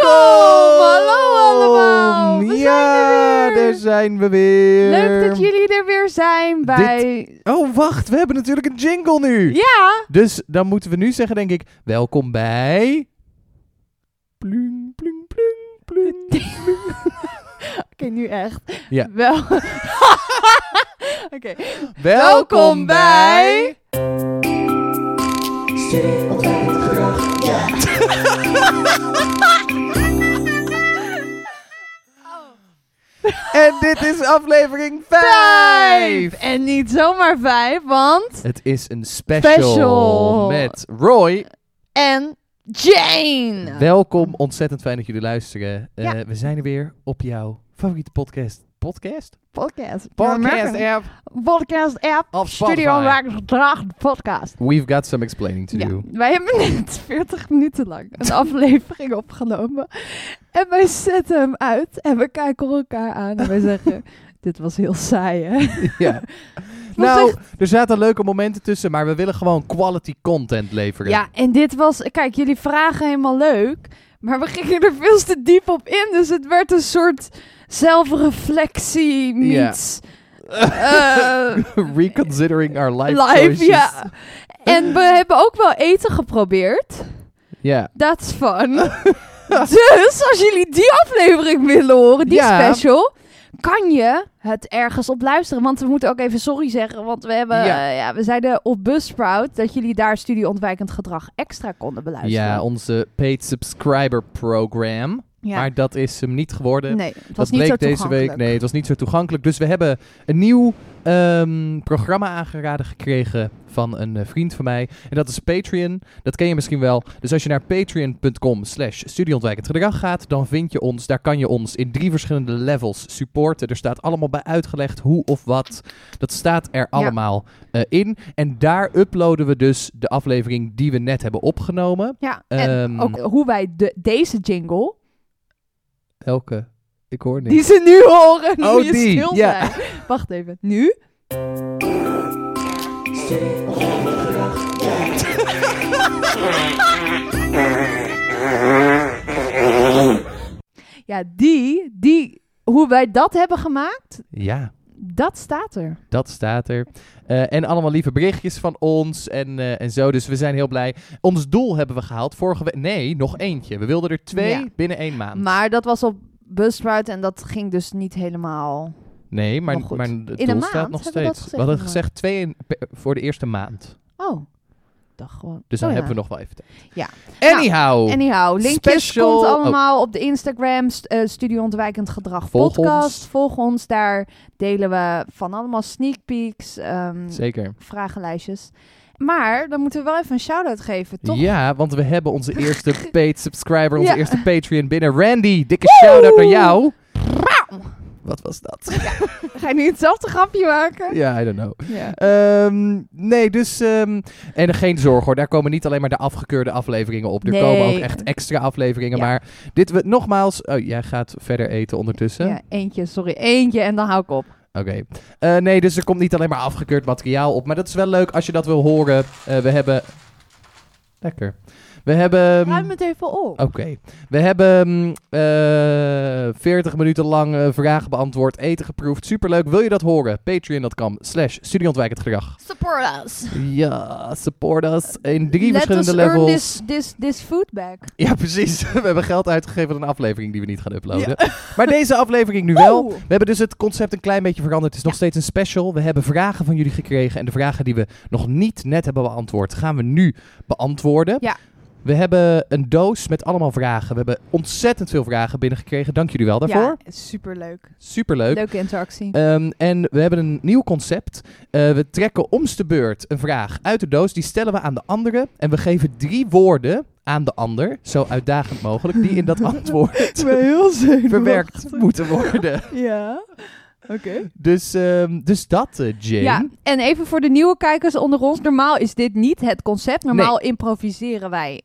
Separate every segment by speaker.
Speaker 1: Hallo! Hallo allemaal! We
Speaker 2: ja,
Speaker 1: zijn er weer!
Speaker 2: daar zijn we weer.
Speaker 1: Leuk dat jullie er weer zijn bij...
Speaker 2: Oh, wacht, we hebben natuurlijk een jingle nu.
Speaker 1: Ja!
Speaker 2: Dus dan moeten we nu zeggen, denk ik, welkom bij... Plung, plung, plung, plung.
Speaker 1: Oké, nu echt.
Speaker 2: Ja.
Speaker 1: Wel... Oké.
Speaker 2: Welkom bij... En dit is aflevering 5.
Speaker 1: Vijf! En niet zomaar vijf, want...
Speaker 2: Het is een special,
Speaker 1: Special.
Speaker 2: met Roy.
Speaker 1: En Jane!
Speaker 2: Welkom, ontzettend fijn dat jullie luisteren. Eh,
Speaker 1: Ja.
Speaker 2: we zijn er weer op jouw favoriete podcast. Podcast?
Speaker 1: Podcast.
Speaker 2: Podcast app.
Speaker 1: Podcast app.
Speaker 2: Op
Speaker 1: Studio
Speaker 2: Spotify.
Speaker 1: Maakers Gedrag podcast.
Speaker 2: We've got some explaining to
Speaker 1: Ja,
Speaker 2: do.
Speaker 1: wij hebben net 40 minuten lang een aflevering opgenomen. En wij zetten hem uit en we kijken elkaar aan en wij zeggen... Dit was heel saai, hè?
Speaker 2: ja. Nou, er zaten leuke momenten tussen, maar we willen gewoon quality content leveren.
Speaker 1: Ja, en dit was... Kijk, jullie vragen helemaal leuk, maar we gingen er veel te diep op in. Dus het werd een soort zelfreflectie
Speaker 2: Ja.
Speaker 1: meets... eh,
Speaker 2: Reconsidering our life,
Speaker 1: live,
Speaker 2: choices.
Speaker 1: ja. En we hebben ook wel eten geprobeerd.
Speaker 2: Ja.
Speaker 1: That's fun. dus als jullie die aflevering willen horen, die
Speaker 2: Ja.
Speaker 1: special, kan je het ergens op luisteren. Want we moeten ook even sorry zeggen, want we, hebben,
Speaker 2: Ja.
Speaker 1: eh, ja, we zeiden op Buzzsprout dat jullie daar studieontwijkend gedrag extra konden beluisteren.
Speaker 2: ja, onze paid subscriber program.
Speaker 1: Ja.
Speaker 2: Maar dat is hem niet geworden.
Speaker 1: nee, het was
Speaker 2: dat
Speaker 1: niet zo
Speaker 2: bleek deze week.
Speaker 1: toegankelijk.
Speaker 2: Nee, het was niet zo toegankelijk. Dus we hebben een nieuw ehm, programma aangeraden gekregen van een eh, vriend van mij. En dat is Patreon. Dat ken je misschien wel. Dus als je naar patreon.com slash studieontwijkend gedrag gaat, dan vind je ons. Daar kan je ons in drie verschillende levels supporten. Er staat allemaal bij uitgelegd hoe of wat. Dat staat er allemaal eh, in. En daar uploaden we dus de aflevering die we net hebben opgenomen.
Speaker 1: Ja, en
Speaker 2: Ehm,
Speaker 1: ook hoe wij de, deze jingle,
Speaker 2: Elke. Ik hoor niks.
Speaker 1: die ze nu horen, nu
Speaker 2: Oh,
Speaker 1: je
Speaker 2: die,
Speaker 1: stil
Speaker 2: ja.
Speaker 1: zijn. Wacht even, nu? Ja, die, die, hoe wij dat hebben gemaakt,
Speaker 2: Ja.
Speaker 1: dat staat er.
Speaker 2: Dat staat er. Eh, en allemaal lieve berichtjes van ons en, eh, en zo. Dus we zijn heel blij. Ons doel hebben we gehaald. Vorige week. Nee, nog eentje. We wilden er twee
Speaker 1: Ja.
Speaker 2: binnen één maand.
Speaker 1: Maar dat was op Buzzsprout en dat ging dus niet helemaal.
Speaker 2: nee, maar,
Speaker 1: Maar goed.
Speaker 2: maar het
Speaker 1: In een
Speaker 2: doel
Speaker 1: maand
Speaker 2: staat nog
Speaker 1: hebben we dat
Speaker 2: steeds.
Speaker 1: gezegd,
Speaker 2: We hadden
Speaker 1: maar.
Speaker 2: gezegd twee in- pe- voor de eerste maand.
Speaker 1: Oh, dacht gewoon.
Speaker 2: Dus dan
Speaker 1: oh ja.
Speaker 2: hebben we nog wel even tijd.
Speaker 1: Ja. Nou,
Speaker 2: Anyhow.
Speaker 1: Anyhow, linkjes
Speaker 2: Oh, Special- Oh.
Speaker 1: komt allemaal op de Instagram, st eh, Studio Ontwijkend Gedrag
Speaker 2: Volg
Speaker 1: podcast.
Speaker 2: ons.
Speaker 1: Volg ons, daar delen we van allemaal sneak peeks, ehm,
Speaker 2: Zeker.
Speaker 1: vragenlijstjes. Maar dan moeten we wel even een shout-out geven, toch?
Speaker 2: Ja, want we hebben onze eerste paid subscriber, onze
Speaker 1: Ja.
Speaker 2: eerste Patreon binnen. Randy, dikke shout-out naar jou. Wat was dat?
Speaker 1: Ga je nu hetzelfde grapje maken?
Speaker 2: Ja, I don't know.
Speaker 1: Ja.
Speaker 2: Ehm, nee, dus. ehm, en geen zorg hoor, daar komen niet alleen maar de afgekeurde afleveringen op. Er
Speaker 1: Nee.
Speaker 2: komen ook echt extra afleveringen.
Speaker 1: Ja.
Speaker 2: Maar dit, we, nogmaals. Oh, jij gaat verder eten ondertussen.
Speaker 1: Ja, eentje, sorry. Eentje en dan hou ik op.
Speaker 2: Oké. Eh, nee, dus er komt niet alleen maar afgekeurd materiaal op. Maar dat is wel leuk als je dat wil horen. Eh, we hebben. Lekker. We hebben. ehm,
Speaker 1: Ruim het even op.
Speaker 2: Oké. We hebben mm, eh, 40 minuten lang eh, vragen beantwoord, eten geproefd. Superleuk. Wil je dat horen? Patreon.com slash studieontwijkend gedrag.
Speaker 1: Support us.
Speaker 2: Ja, support us in drie
Speaker 1: Let us
Speaker 2: verschillende
Speaker 1: earn
Speaker 2: levels.
Speaker 1: this, this, this food back.
Speaker 2: Ja, precies. We hebben geld uitgegeven aan een aflevering die we niet gaan uploaden. Maar deze aflevering nu wel.
Speaker 1: Oeh.
Speaker 2: We hebben dus het concept een klein beetje veranderd. Het is nog steeds een special. We hebben vragen van jullie gekregen. En de vragen die we nog niet net hebben beantwoord, gaan we nu beantwoorden.
Speaker 1: Ja.
Speaker 2: We hebben een doos met allemaal vragen. We hebben ontzettend veel vragen binnengekregen. Dank jullie wel daarvoor.
Speaker 1: Ja, superleuk.
Speaker 2: Superleuk.
Speaker 1: Leuke interactie.
Speaker 2: Ehm, en we hebben een nieuw concept. Eh, we trekken omste beurt een vraag uit de doos. Die stellen we aan de andere. En we geven drie woorden aan de ander, zo uitdagend mogelijk, die in dat antwoord
Speaker 1: heel zenuwachtig.
Speaker 2: verwerkt moeten worden.
Speaker 1: Ja. Oké.
Speaker 2: Dus, ehm, dus dat, eh, Jane.
Speaker 1: Ja, en even voor de nieuwe kijkers onder ons. Normaal is dit niet het concept. Normaal improviseren wij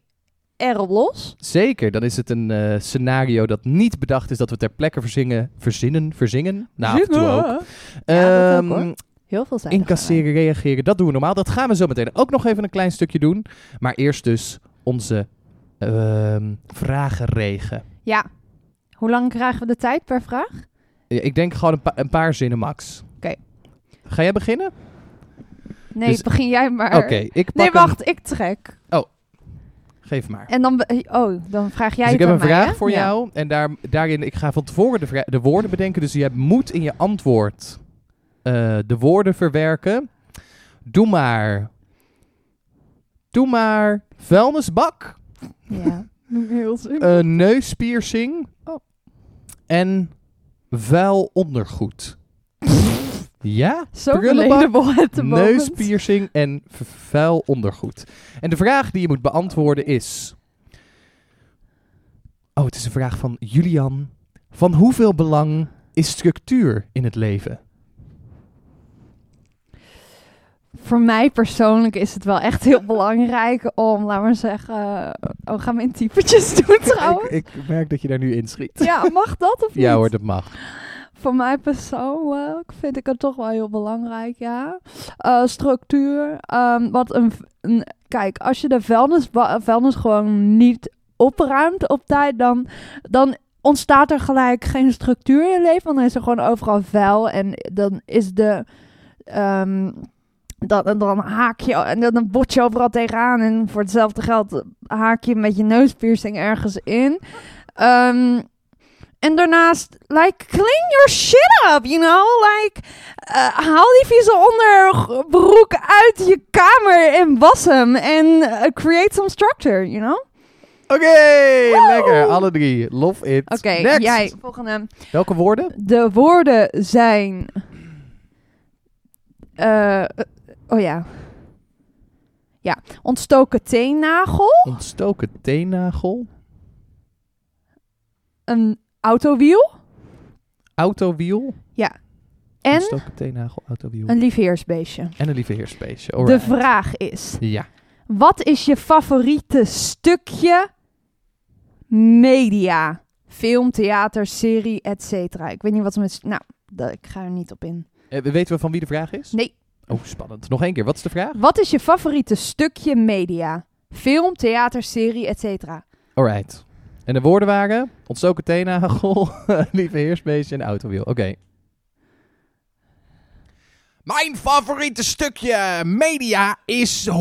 Speaker 1: erop los.
Speaker 2: Zeker, dan is het een eh, scenario dat niet bedacht is dat we ter plekke verzingen, verzinnen, verzingen. Nou, af en toe ook.
Speaker 1: Ja, dat ook,
Speaker 2: Ehm,
Speaker 1: hoor. Heel veel zijn.
Speaker 2: incasseren, reageren, dat doen we normaal. Dat gaan we zo meteen ook nog even een klein stukje doen. Maar eerst dus onze ehm vragenregen.
Speaker 1: Ja. Hoe lang krijgen we de tijd per vraag?
Speaker 2: Ja, Ik denk gewoon een, pa- een paar zinnen max.
Speaker 1: Oké.
Speaker 2: Ga jij beginnen?
Speaker 1: Nee,
Speaker 2: Dus-
Speaker 1: begin jij maar.
Speaker 2: Oké, ik pak
Speaker 1: Nee,
Speaker 2: hem.
Speaker 1: wacht, ik trek.
Speaker 2: Geef maar.
Speaker 1: En dan, be- oh, dan vraag jij
Speaker 2: dus ik
Speaker 1: het
Speaker 2: heb een
Speaker 1: aan mij,
Speaker 2: vraag
Speaker 1: hè?
Speaker 2: voor
Speaker 1: Ja.
Speaker 2: jou. En daar, daarin, ik ga van tevoren de, vra- de woorden bedenken. Dus je moet in je antwoord eh, de woorden verwerken. Doe maar. Doe maar. Vuilnisbak.
Speaker 1: Ja. Heel simpel.
Speaker 2: eh, neuspiercing.
Speaker 1: Oh.
Speaker 2: En vuil ondergoed. ja?
Speaker 1: Zo
Speaker 2: prullenbak,
Speaker 1: relatable at the moment.
Speaker 2: neuspiercing en v- vuil ondergoed. En de vraag die je moet beantwoorden is... Oh, het is een vraag van Julian. Van hoeveel belang is structuur in het leven?
Speaker 1: Voor mij persoonlijk is het wel echt heel belangrijk om, laat maar zeggen... Oh, gaan we in typetjes doen trouwens?
Speaker 2: Ik, ik merk dat je daar nu inschiet.
Speaker 1: Oh. Ja, mag dat of niet?
Speaker 2: Ja hoor, dat mag.
Speaker 1: Voor mij persoonlijk vind ik het toch wel heel belangrijk, ja. Eh, structuur. ehm, wat een, v- een- Kijk, als je de vuilnis, vuilnis gewoon niet opruimt op tijd, dan, dan ontstaat er gelijk geen structuur in je leven. Want dan is er gewoon overal vuil en dan is de. ehm, dan, dan haak je en dan- dan bot je overal tegenaan. En voor hetzelfde geld haak je met je neuspiercing ergens in. Ehm, en daarnaast, like, clean your shit up, you know? Like, eh, haal die vieze onderbroek uit je kamer en was hem. En eh, create some structure, you know?
Speaker 2: Oké,
Speaker 1: Wow.
Speaker 2: lekker. Alle drie. Love it.
Speaker 1: Oké,
Speaker 2: Next.
Speaker 1: jij, volgende.
Speaker 2: Welke woorden?
Speaker 1: De woorden zijn... eh, eh, oh ja. Ja, ontstoken teennagel,
Speaker 2: Oh. Ontstoken teennagel.
Speaker 1: een autowiel
Speaker 2: Autowiel.
Speaker 1: en
Speaker 2: Ontstoken teennagel, autowiel.
Speaker 1: een liefheersbeestje.
Speaker 2: en een lieve heerspace.
Speaker 1: De vraag is...
Speaker 2: Ja.
Speaker 1: Wat is je favoriete stukje media? Film, theater, serie, et cetera. Ik weet niet wat ze met... Nou, da- ik ga er niet op in.
Speaker 2: Eh, weten we van wie de vraag is?
Speaker 1: Nee.
Speaker 2: Oh, spannend. Nog één keer. Wat is de vraag?
Speaker 1: Wat is je favoriete stukje media? Film, theater, serie, et cetera.
Speaker 2: Alright. En de woorden waren ontstoken teenagel, lieve heersbeestje en autowiel. Oké. Mijn favoriete stukje media is 100%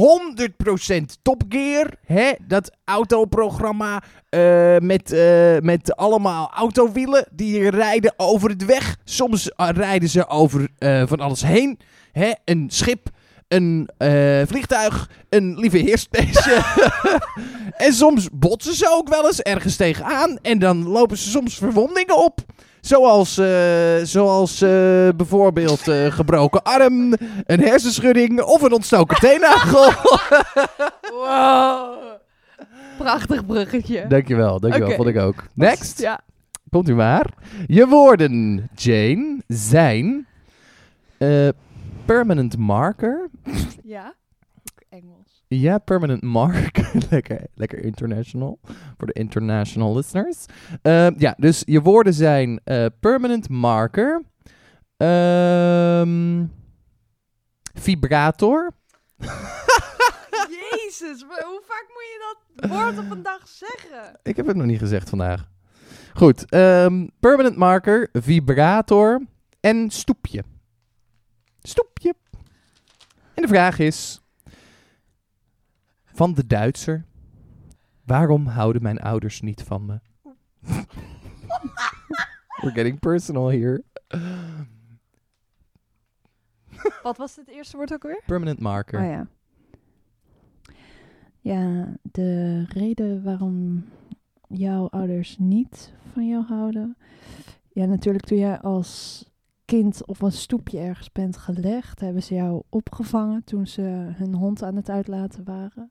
Speaker 2: Top Gear. Hè? Dat autoprogramma eh, met, eh, met allemaal autowielen die rijden over het weg. Soms eh, rijden ze over eh, van alles heen. Hè? Een schip, een eh, vliegtuig, een lieve heersbeestje. En soms botsen ze ook wel eens ergens tegenaan. En dan lopen ze soms verwondingen op. Zoals, eh, zoals eh, bijvoorbeeld eh, gebroken arm, een hersenschudding of een ontstoken teennagel.
Speaker 1: Wow. Prachtig bruggetje.
Speaker 2: dankjewel, dankjewel.
Speaker 1: Oké.
Speaker 2: Vond ik ook. Next.
Speaker 1: Ja.
Speaker 2: Komt u maar. Je woorden, Jane, zijn eh, permanent marker.
Speaker 1: Ja. Engels.
Speaker 2: Ja, permanent mark. lekker, lekker international. Voor de international listeners. Ehm, ja, dus je woorden zijn eh, permanent marker. ehm, vibrator.
Speaker 1: Jezus, maar hoe vaak moet je dat woord op een dag zeggen?
Speaker 2: Ik heb het nog niet gezegd vandaag. Goed. ehm, permanent marker, vibrator en stoepje. Stoepje. En de vraag is... Van de Duitser. Waarom houden mijn ouders niet van me? We're getting personal here.
Speaker 1: Wat was het eerste woord ook weer?
Speaker 2: Permanent marker.
Speaker 1: Oh ja. Ja, de reden waarom jouw ouders niet van jou houden. Ja, natuurlijk toen jij als kind op een stoepje ergens bent gelegd, hebben ze jou opgevangen toen ze hun hond aan het uitlaten waren.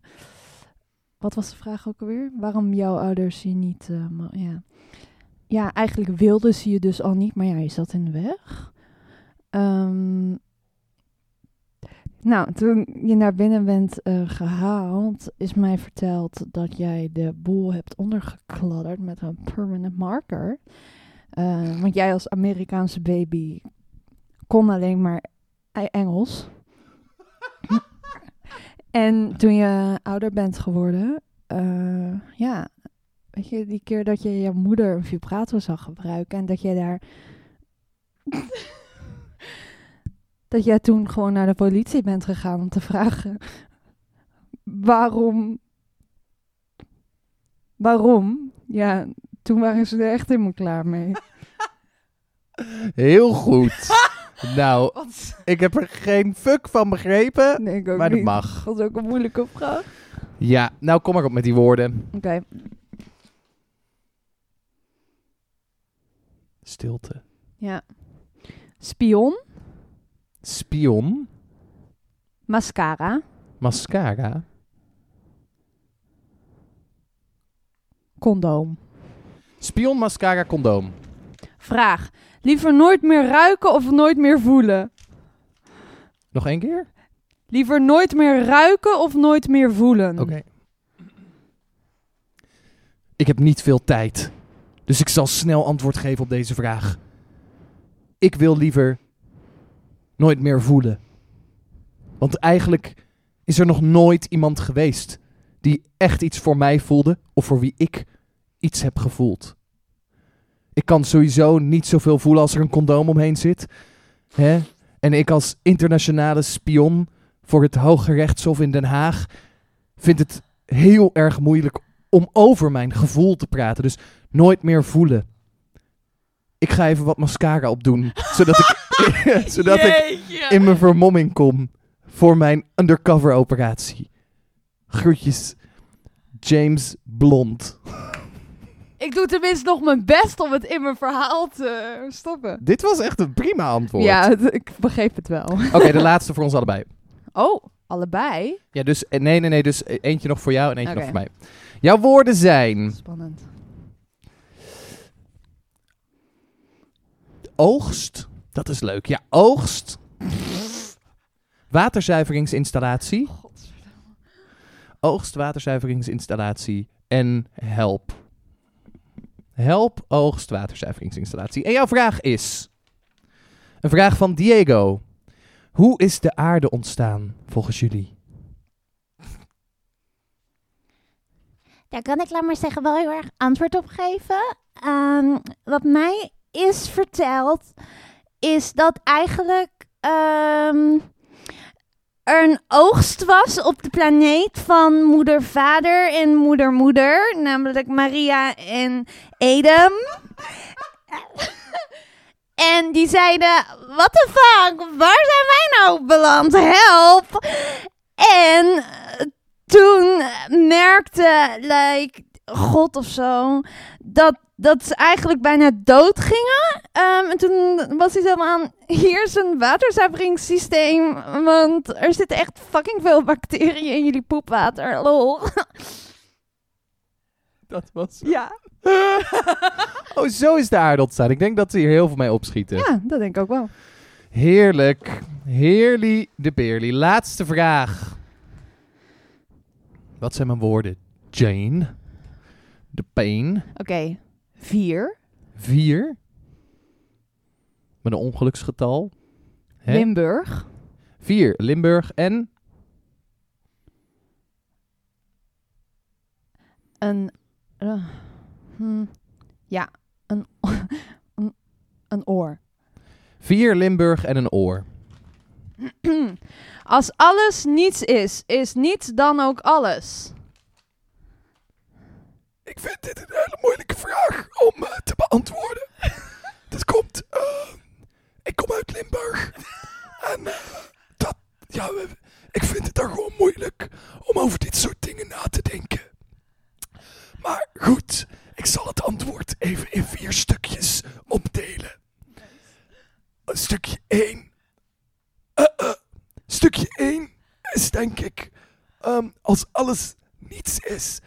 Speaker 1: Wat was de vraag ook alweer? Waarom jouw ouders je niet. eh, ma- ja. ja, eigenlijk wilden ze je dus al niet, maar ja, je zat in de weg. Ehm, nou, toen je naar binnen bent eh, gehaald, is mij verteld dat jij de boel hebt ondergekladderd met een permanent marker. Eh, want jij als Amerikaanse baby kon alleen maar E- Engels. en toen je ouder bent geworden, eh, ja, Weet je, die keer dat je je moeder een vibrator zag gebruiken en dat jij daar. dat jij toen gewoon naar de politie bent gegaan om te vragen. waarom. Waarom? Ja, toen waren ze er echt helemaal klaar mee.
Speaker 2: Heel goed. nou, ik heb er geen fuck van begrepen,
Speaker 1: Nee, ik ook
Speaker 2: maar dat
Speaker 1: niet.
Speaker 2: mag.
Speaker 1: Dat was ook een moeilijke vraag.
Speaker 2: Ja, nou kom maar op met die woorden.
Speaker 1: Oké,
Speaker 2: Stilte.
Speaker 1: ja. Spion,
Speaker 2: Spion.
Speaker 1: mascara,
Speaker 2: Mascara.
Speaker 1: condoom.
Speaker 2: Spion, mascara, condoom.
Speaker 1: Vraag. Liever nooit meer ruiken of nooit meer voelen?
Speaker 2: Nog één keer?
Speaker 1: Liever nooit meer ruiken of nooit meer voelen?
Speaker 2: Oké. Ik heb niet veel tijd. Dus ik zal snel antwoord geven op deze vraag. Ik wil liever nooit meer voelen. Want eigenlijk is er nog nooit iemand geweest die echt iets voor mij voelde of voor wie ik iets heb gevoeld. Ik kan sowieso niet zoveel voelen als er een condoom omheen zit. Hè? En ik als internationale spion voor het Hoge Rechtshof in Den Haag vind het heel erg moeilijk om over mijn gevoel te praten. Dus nooit meer voelen. Ik ga even wat mascara opdoen, zodat ik, zodat ik in mijn vermomming kom voor mijn undercover operatie. Groetjes, James Blond.
Speaker 1: Ik doe tenminste nog mijn best om het in mijn verhaal te stoppen.
Speaker 2: Dit was echt een prima antwoord.
Speaker 1: Ja, het- ik begreep het wel.
Speaker 2: Oké, de laatste voor ons allebei.
Speaker 1: Oh, allebei?
Speaker 2: Ja, dus eh, nee, nee, nee. Dus eh, eentje nog voor jou en eentje nog
Speaker 1: Oké.
Speaker 2: voor mij. Jouw woorden zijn
Speaker 1: Spannend.
Speaker 2: oogst. Dat is leuk. Ja, oogst. Waterzuiveringsinstallatie. Oogst, waterzuiveringsinstallatie en help. Help, oogst, waterzuiveringsinstallatie. En jouw vraag is: Een vraag van Diego. Hoe is de aarde ontstaan volgens jullie?
Speaker 3: Daar kan ik, laat maar zeggen, wel heel erg antwoord op geven. Ehm, wat mij is verteld, is dat eigenlijk ehm, er een oogst was op de planeet van moeder-vader en moeder-moeder, namelijk Maria en Edom. En die zeiden, what the fuck, waar zijn wij nou beland? Help! En eh, toen merkte like, God of zo dat, dat ze eigenlijk bijna dood gingen. Ehm, en toen was hij zo aan, hier is een waterzuiveringssysteem, want er zitten echt fucking veel bacteriën in jullie poepwater, lol.
Speaker 2: Dat was.
Speaker 1: Ja.
Speaker 2: Oh, zo is de aarde ontstaan. Ik denk dat ze hier heel veel mee opschieten.
Speaker 1: ja, dat denk ik ook wel.
Speaker 2: Heerlijk. Heerly de Beerly. Laatste vraag. Wat zijn mijn woorden? Jane. De pain.
Speaker 1: Oké, vier.
Speaker 2: Vier. Met een ongeluksgetal. Hè?
Speaker 1: Limburg.
Speaker 2: Vier. Limburg en...
Speaker 1: Een. eh, hmm, ja, een, een, een oor.
Speaker 2: Vier Limburg en een oor.
Speaker 1: Als alles niets is, is niets dan ook alles.
Speaker 2: Ik vind dit een hele moeilijke vraag om eh, te beantwoorden. Dit komt. eh, ik kom uit Limburg. En eh, dat. Ja, eh, ik vind het daar gewoon moeilijk om over dit soort dingen na te denken. Maar goed, ik zal het antwoord even in vier stukjes opdelen. Eh, Stukje 1. stukje 1 is denk ik. ehm, als alles niets is,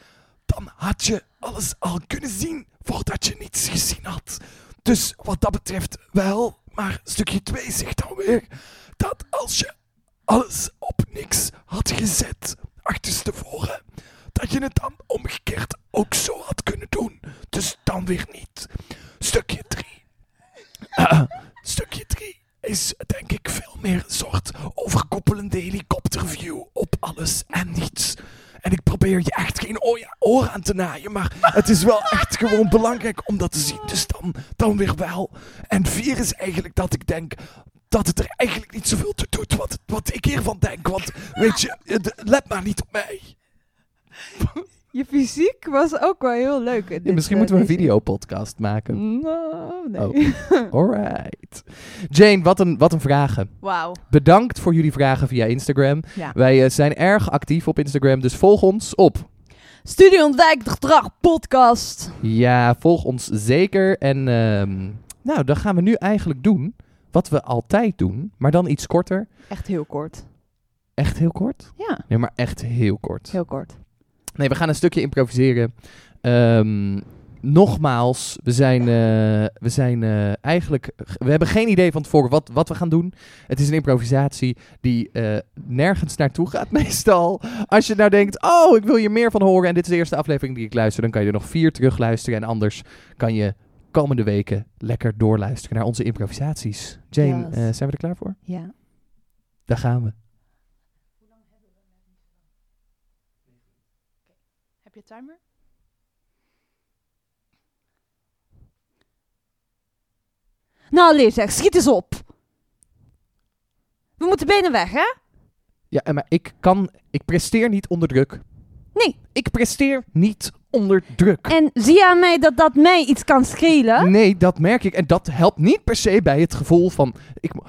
Speaker 2: dan had je alles al kunnen zien voordat je niets gezien had. Dus wat dat betreft wel, maar stukje 2 zegt dan weer dat als je alles op niks had gezet achterstevoren, dat je het dan omgekeerd ook zo had kunnen doen. Dus dan weer niet. Stukje 3. stukje 3 is denk ik veel meer een soort overkoepelende helikopterview op alles en niets. En ik probeer je echt geen oja- oordeel oor aan te naaien. Maar het is wel echt gewoon belangrijk om dat te zien. Dus dan, dan weer wel. En vier is eigenlijk dat ik denk dat het er eigenlijk niet zoveel toe doet wat, wat ik hiervan denk. Want weet je, het- let maar niet op mij.
Speaker 1: Je fysiek was ook wel heel leuk. in dit,
Speaker 2: misschien
Speaker 1: eh,
Speaker 2: moeten we een Oh.
Speaker 1: deze-
Speaker 2: videopodcast maken.
Speaker 1: Nou, nee.
Speaker 2: Alright. Jane, wat een, wat een vragen.
Speaker 1: Wauw.
Speaker 2: Bedankt voor jullie vragen via Instagram.
Speaker 1: Ja.
Speaker 2: Wij eh, zijn erg actief op Instagram, dus volg ons op.
Speaker 1: Studie ontwijkt gedrag podcast.
Speaker 2: Ja, volg ons zeker. En ehm, nou, dan gaan we nu eigenlijk doen wat we altijd doen, maar dan iets korter.
Speaker 1: Echt heel kort.
Speaker 2: Echt heel kort?
Speaker 1: Ja,
Speaker 2: Nee, maar echt heel kort.
Speaker 1: heel kort.
Speaker 2: Nee, we gaan een stukje improviseren. Ehm, nogmaals, we zijn, eh, we zijn eh, eigenlijk. We hebben geen idee van tevoren wat, wat we gaan doen. Het is een improvisatie die eh, nergens naartoe gaat, meestal. Als je nou denkt: Oh, ik wil hier meer van horen. En dit is de eerste aflevering die ik luister. Dan kan je er nog vier terugluisteren. En anders kan je komende weken lekker doorluisteren naar onze improvisaties. Jane,
Speaker 1: Yes.
Speaker 2: eh, zijn we er klaar voor?
Speaker 1: Ja.
Speaker 2: Daar gaan we.
Speaker 1: Heb je timer?
Speaker 3: Nou, Leer, zeg, schiet eens op. We moeten benen weg, hè?
Speaker 2: Ja, en maar ik kan. Ik presteer niet onder druk.
Speaker 3: Nee.
Speaker 2: Ik presteer niet onder druk.
Speaker 3: En zie je aan mij dat dat mij iets kan schelen?
Speaker 2: Nee, dat merk ik. En dat helpt niet per se bij het gevoel van. Ik. mo-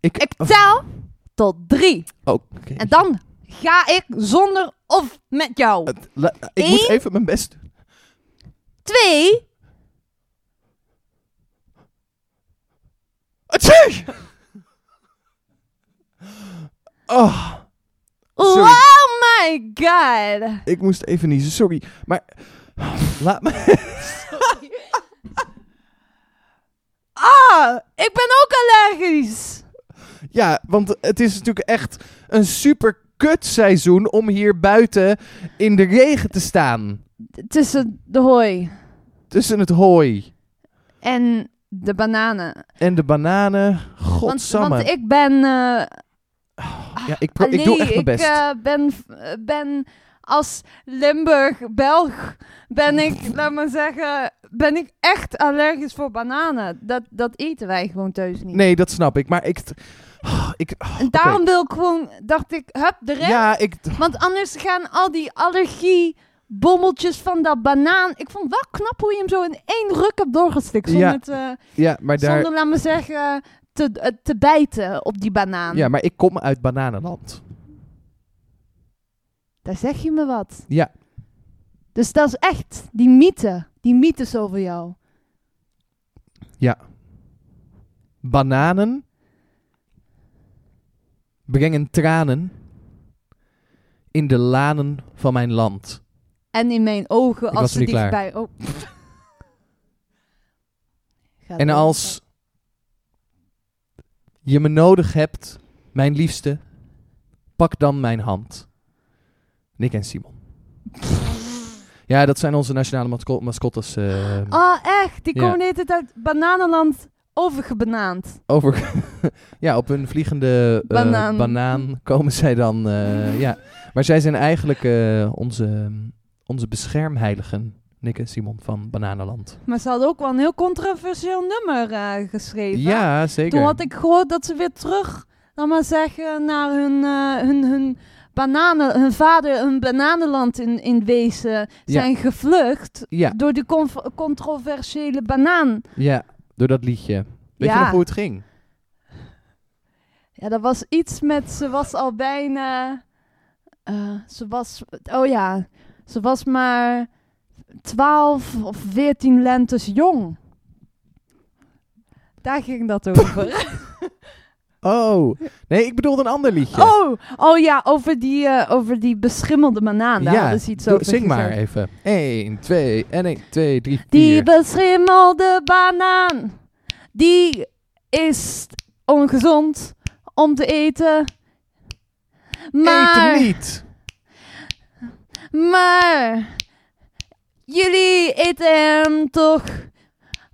Speaker 2: Ik.
Speaker 3: Ik tel tot drie.
Speaker 2: Oh, oké.
Speaker 3: En dan ga ik zonder of met jou.
Speaker 2: Het- la- Ik moet
Speaker 3: Eén.
Speaker 2: even mijn best doen.
Speaker 3: Twee.
Speaker 2: Atsie! Oh, Sorry.
Speaker 3: Oh my god.
Speaker 2: ik moest even niezen. Sorry. Maar. Laat me.
Speaker 3: Ah, ik ben ook allergisch.
Speaker 2: Ja, want het is natuurlijk echt een super kut seizoen om hier buiten in de regen te staan.
Speaker 3: Tussen de hooi
Speaker 2: Tussen het hooi
Speaker 3: en de bananen.
Speaker 2: en de bananen.
Speaker 3: Want,
Speaker 2: Godsamme.
Speaker 3: want ik ben... eh,
Speaker 2: ja, ik, pro- ik doe
Speaker 3: allee,
Speaker 2: echt mijn best.
Speaker 3: Ik eh, ben, eh, ben als Limburg-Belg, ben ik, laat maar zeggen, ben ik echt allergisch voor bananen. Dat, dat eten wij gewoon thuis niet.
Speaker 2: Nee, dat snap ik. Maar ik. ik
Speaker 3: En daarom wil ik gewoon, dacht ik, hup, erin.
Speaker 2: ja, ik.
Speaker 3: Want anders gaan al die allergie bommeltjes van dat banaan. Ik vond wel knap hoe je hem zo in één ruk hebt doorgestikt. Zonder,
Speaker 2: Ja,
Speaker 3: te,
Speaker 2: Ja, maar daar.
Speaker 3: zonder laat maar zeggen, te, eh, te bijten op die banaan.
Speaker 2: Ja, maar ik kom uit Bananenland.
Speaker 3: Daar zeg je me wat.
Speaker 2: Ja.
Speaker 3: Dus dat is echt die mythe. Die mythes over jou.
Speaker 2: Bananen. Brengen tranen. In de lanen van mijn land.
Speaker 3: En in mijn ogen
Speaker 2: was
Speaker 3: als ze
Speaker 2: nog niet
Speaker 3: dichtbij... Oh. Ga
Speaker 2: En
Speaker 3: door.
Speaker 2: als. Je me nodig hebt, mijn liefste. Pak dan mijn hand. Nick en Simon. Ja, dat zijn onze nationale masco- mascottes. eh,
Speaker 3: Ah, echt? Die
Speaker 2: Ja.
Speaker 3: komen de hele tijd uit Bananenland overgebenaamd.
Speaker 2: Over, ja, op hun vliegende eh,
Speaker 3: Banaan.
Speaker 2: banaan komen zij dan. eh, ja. Maar zij zijn eigenlijk eh, onze, onze beschermheiligen, Nick en Simon van Bananenland.
Speaker 3: Maar ze hadden ook wel een heel controversieel nummer eh, geschreven.
Speaker 2: Ja, zeker.
Speaker 3: Toen had ik gehoord dat ze weer terug, laat maar zeggen, naar hun, eh, hun, hun, bananen, hun vader, hun bananenland in, in wezen zijn gevlucht.
Speaker 2: ja,
Speaker 3: Door die conf- controversiële banaan.
Speaker 2: ja, door dat liedje. Weet je
Speaker 3: Ja.
Speaker 2: nog hoe het ging?
Speaker 3: Ja, dat was iets met ze was al bijna. eh, ze was. Oh ja, ze was maar 12 of 14 lentes jong. Daar ging dat over.
Speaker 2: Oh, nee, ik bedoelde een ander liedje.
Speaker 3: oh, oh ja, over die, eh, over die beschimmelde banaan. Daar hadden ze nou, dus iets
Speaker 2: doe-
Speaker 3: over
Speaker 2: zing maar
Speaker 3: gezegd.
Speaker 2: even. 1, 2 en 1, 2, 3, 4.
Speaker 3: Die beschimmelde banaan, die is ongezond om te eten. Maar
Speaker 2: Eet hem niet!
Speaker 3: Maar jullie eten hem toch?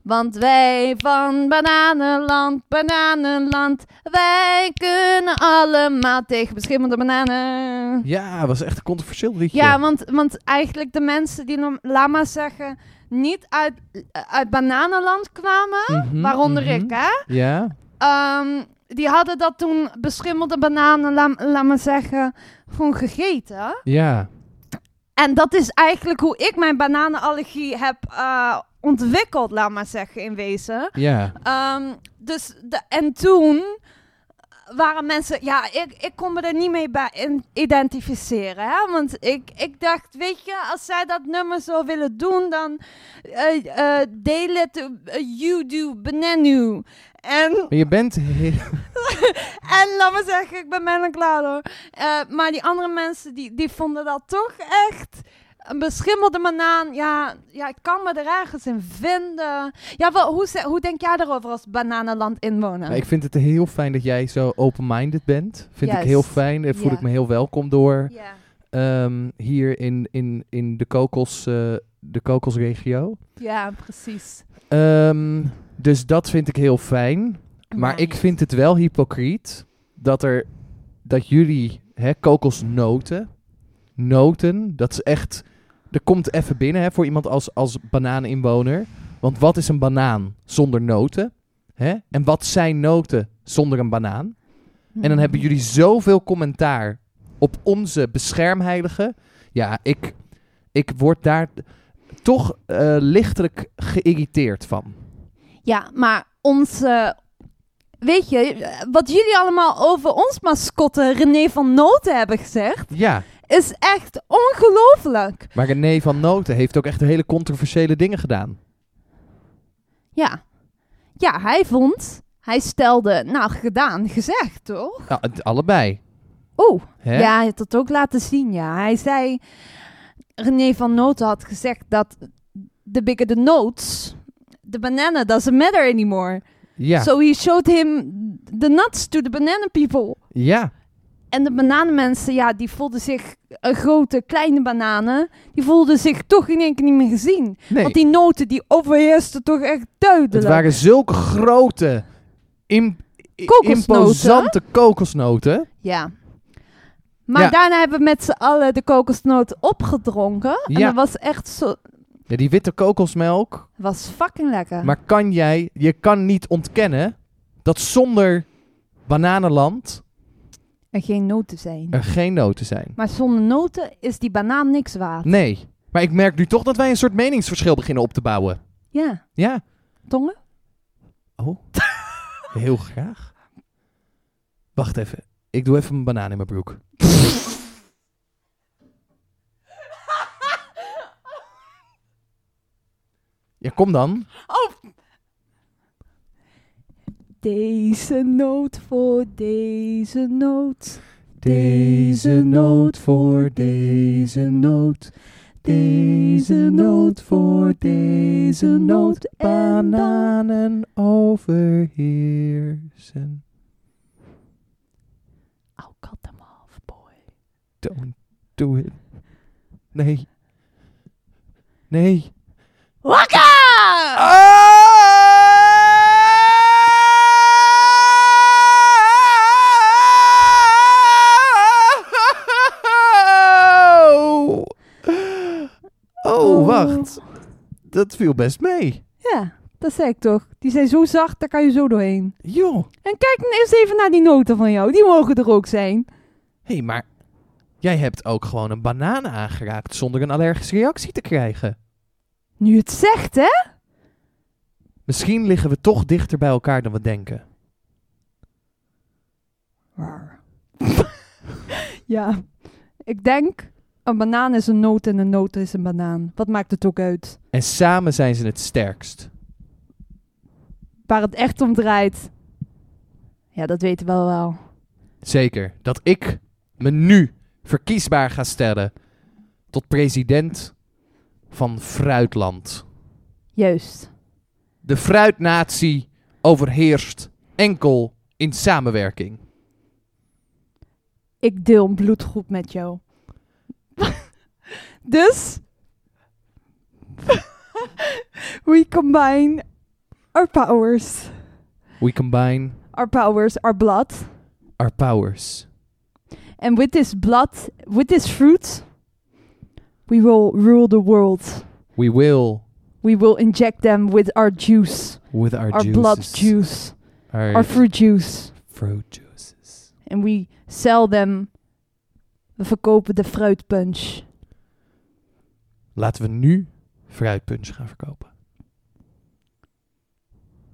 Speaker 3: Want wij van Bananenland, Bananenland, wij kunnen allemaal tegen beschimmelde bananen.
Speaker 2: Ja, was echt een controversieel liedje.
Speaker 3: Ja, want, want eigenlijk de mensen die nam- laat maar zeggen niet uit, uit Bananenland kwamen,
Speaker 2: Mhm,
Speaker 3: waaronder
Speaker 2: mhm.
Speaker 3: ik hè,
Speaker 2: Ja,
Speaker 3: ehm, die hadden dat toen beschimmelde bananen, laat, laat maar zeggen, gewoon gegeten.
Speaker 2: ja.
Speaker 3: En dat is eigenlijk hoe ik mijn bananenallergie heb eh, ontwikkeld, laat maar zeggen, in wezen.
Speaker 2: Ja,
Speaker 3: Ehm, dus de, en toen waren mensen, ja, ik, ik kon me er niet mee bij in- identificeren. Hè? Want ik, ik dacht, weet je, als zij dat nummer zo willen doen, dan eh eh deel het eh, you do benenu. En,
Speaker 2: maar je bent... heel-
Speaker 3: en laat maar zeggen, ik ben bijna klaar hoor. Eh, maar die andere mensen, die, die vonden dat toch echt... Een beschimmelde banaan, ja, ja, ik kan me er ergens in vinden. Ja, wel, hoe, ze- hoe denk jij daarover als bananenland inwoner?
Speaker 2: Maar ik vind het heel fijn dat jij zo open-minded bent. Vind ik
Speaker 3: Juist.
Speaker 2: heel fijn. Daar voel
Speaker 3: Ja.
Speaker 2: ik me heel welkom door.
Speaker 3: Ja.
Speaker 2: Ehm, hier in, in, in de, kokos, eh, de kokosregio.
Speaker 3: Ja, precies.
Speaker 2: Ehm, dus dat vind ik heel fijn. Maar
Speaker 3: Nice.
Speaker 2: ik vind het wel hypocriet dat, er, dat jullie hè, kokosnoten, noten, dat is echt... Er komt even binnen hè, voor iemand als, als banaaninwoner. Want wat is een banaan zonder noten? Hè? En wat zijn noten zonder een banaan? En dan hebben jullie zoveel commentaar op onze beschermheilige. Ja, ik, ik word daar toch eh, lichtelijk geïrriteerd van.
Speaker 3: Ja, maar onze... Weet je, wat jullie allemaal over ons mascotte René van Noten hebben gezegd,
Speaker 2: Ja,
Speaker 3: is echt ongelooflijk.
Speaker 2: maar René van Noten heeft ook echt hele controversiële dingen gedaan.
Speaker 3: Ja. Ja, hij vond... Hij stelde, nou, gedaan, gezegd, toch?
Speaker 2: Nou, het- allebei.
Speaker 3: Oeh,
Speaker 2: Hè?
Speaker 3: ja, hij had dat ook laten zien, ja. Hij zei... René van Noten had gezegd dat the bigger the notes, the banana doesn't matter anymore.
Speaker 2: ja.
Speaker 3: So he showed him the nuts to the banana people.
Speaker 2: ja.
Speaker 3: En de bananenmensen, ja, die voelden zich, eh, grote, kleine bananen, die voelden zich toch in één keer niet meer gezien.
Speaker 2: Nee,
Speaker 3: Want die noten, die overheersten toch echt duidelijk.
Speaker 2: het waren zulke grote, im- i-
Speaker 3: Kokosnoten?
Speaker 2: imposante kokosnoten.
Speaker 3: Ja. Maar
Speaker 2: Ja.
Speaker 3: daarna hebben we met z'n allen de kokosnoot opgedronken. En
Speaker 2: Ja.
Speaker 3: dat was echt zo...
Speaker 2: Ja, die witte kokosmelk.
Speaker 3: was fucking lekker.
Speaker 2: Maar kan jij, je kan niet ontkennen dat zonder bananenland
Speaker 3: En geen noten zijn.
Speaker 2: er geen noten zijn.
Speaker 3: Maar zonder noten is die banaan niks waard.
Speaker 2: Nee. Maar ik merk nu toch dat wij een soort meningsverschil beginnen op te bouwen.
Speaker 3: Ja.
Speaker 2: Ja.
Speaker 3: Tongen?
Speaker 2: Oh. Heel graag. Wacht even. Ik doe even mijn banaan in mijn broek. Ja, kom dan.
Speaker 3: Deze noot voor deze noot.
Speaker 2: Deze noot voor deze noot. Deze noot voor deze noot.
Speaker 3: En dan-
Speaker 2: Bananen overheersen.
Speaker 3: Oh, cut them off, boy.
Speaker 2: Don't do it. Nee. Nee.
Speaker 3: Wakka!
Speaker 2: Oh, oh, wacht. Dat viel best mee.
Speaker 3: Ja, dat zei ik toch. Die zijn zo zacht, daar kan je zo doorheen.
Speaker 2: Joh.
Speaker 3: En kijk nou eerst even naar die noten van jou. Die mogen er ook zijn.
Speaker 2: Hé, hey, maar jij hebt ook gewoon een banaan aangeraakt zonder een allergische reactie te krijgen.
Speaker 3: Nu het zegt, hè?
Speaker 2: Misschien liggen we toch dichter bij elkaar dan we denken.
Speaker 3: ja, ik denk... Een banaan is een noot en een noot is een banaan. Wat maakt het ook uit?
Speaker 2: En samen zijn ze het sterkst.
Speaker 3: Waar het echt om draait. Ja, dat weten we wel.
Speaker 2: Zeker. Dat ik me nu verkiesbaar ga stellen tot president van Fruitland.
Speaker 3: Juist.
Speaker 2: De fruitnatie overheerst enkel in samenwerking.
Speaker 3: Ik deel een bloedgroep met jou. dus... We combine Our powers.
Speaker 2: We combine
Speaker 3: Our powers, our blood.
Speaker 2: our powers.
Speaker 3: And with this blood, with this fruit, we will rule the world.
Speaker 2: We will
Speaker 3: We will inject them with our juice,
Speaker 2: with our,
Speaker 3: our
Speaker 2: juices.
Speaker 3: blood juice,
Speaker 2: Our,
Speaker 3: our fruit juice.
Speaker 2: fruit juices.
Speaker 3: En we sell them. We verkopen de fruitpunch.
Speaker 2: Laten we nu fruitpunch gaan verkopen.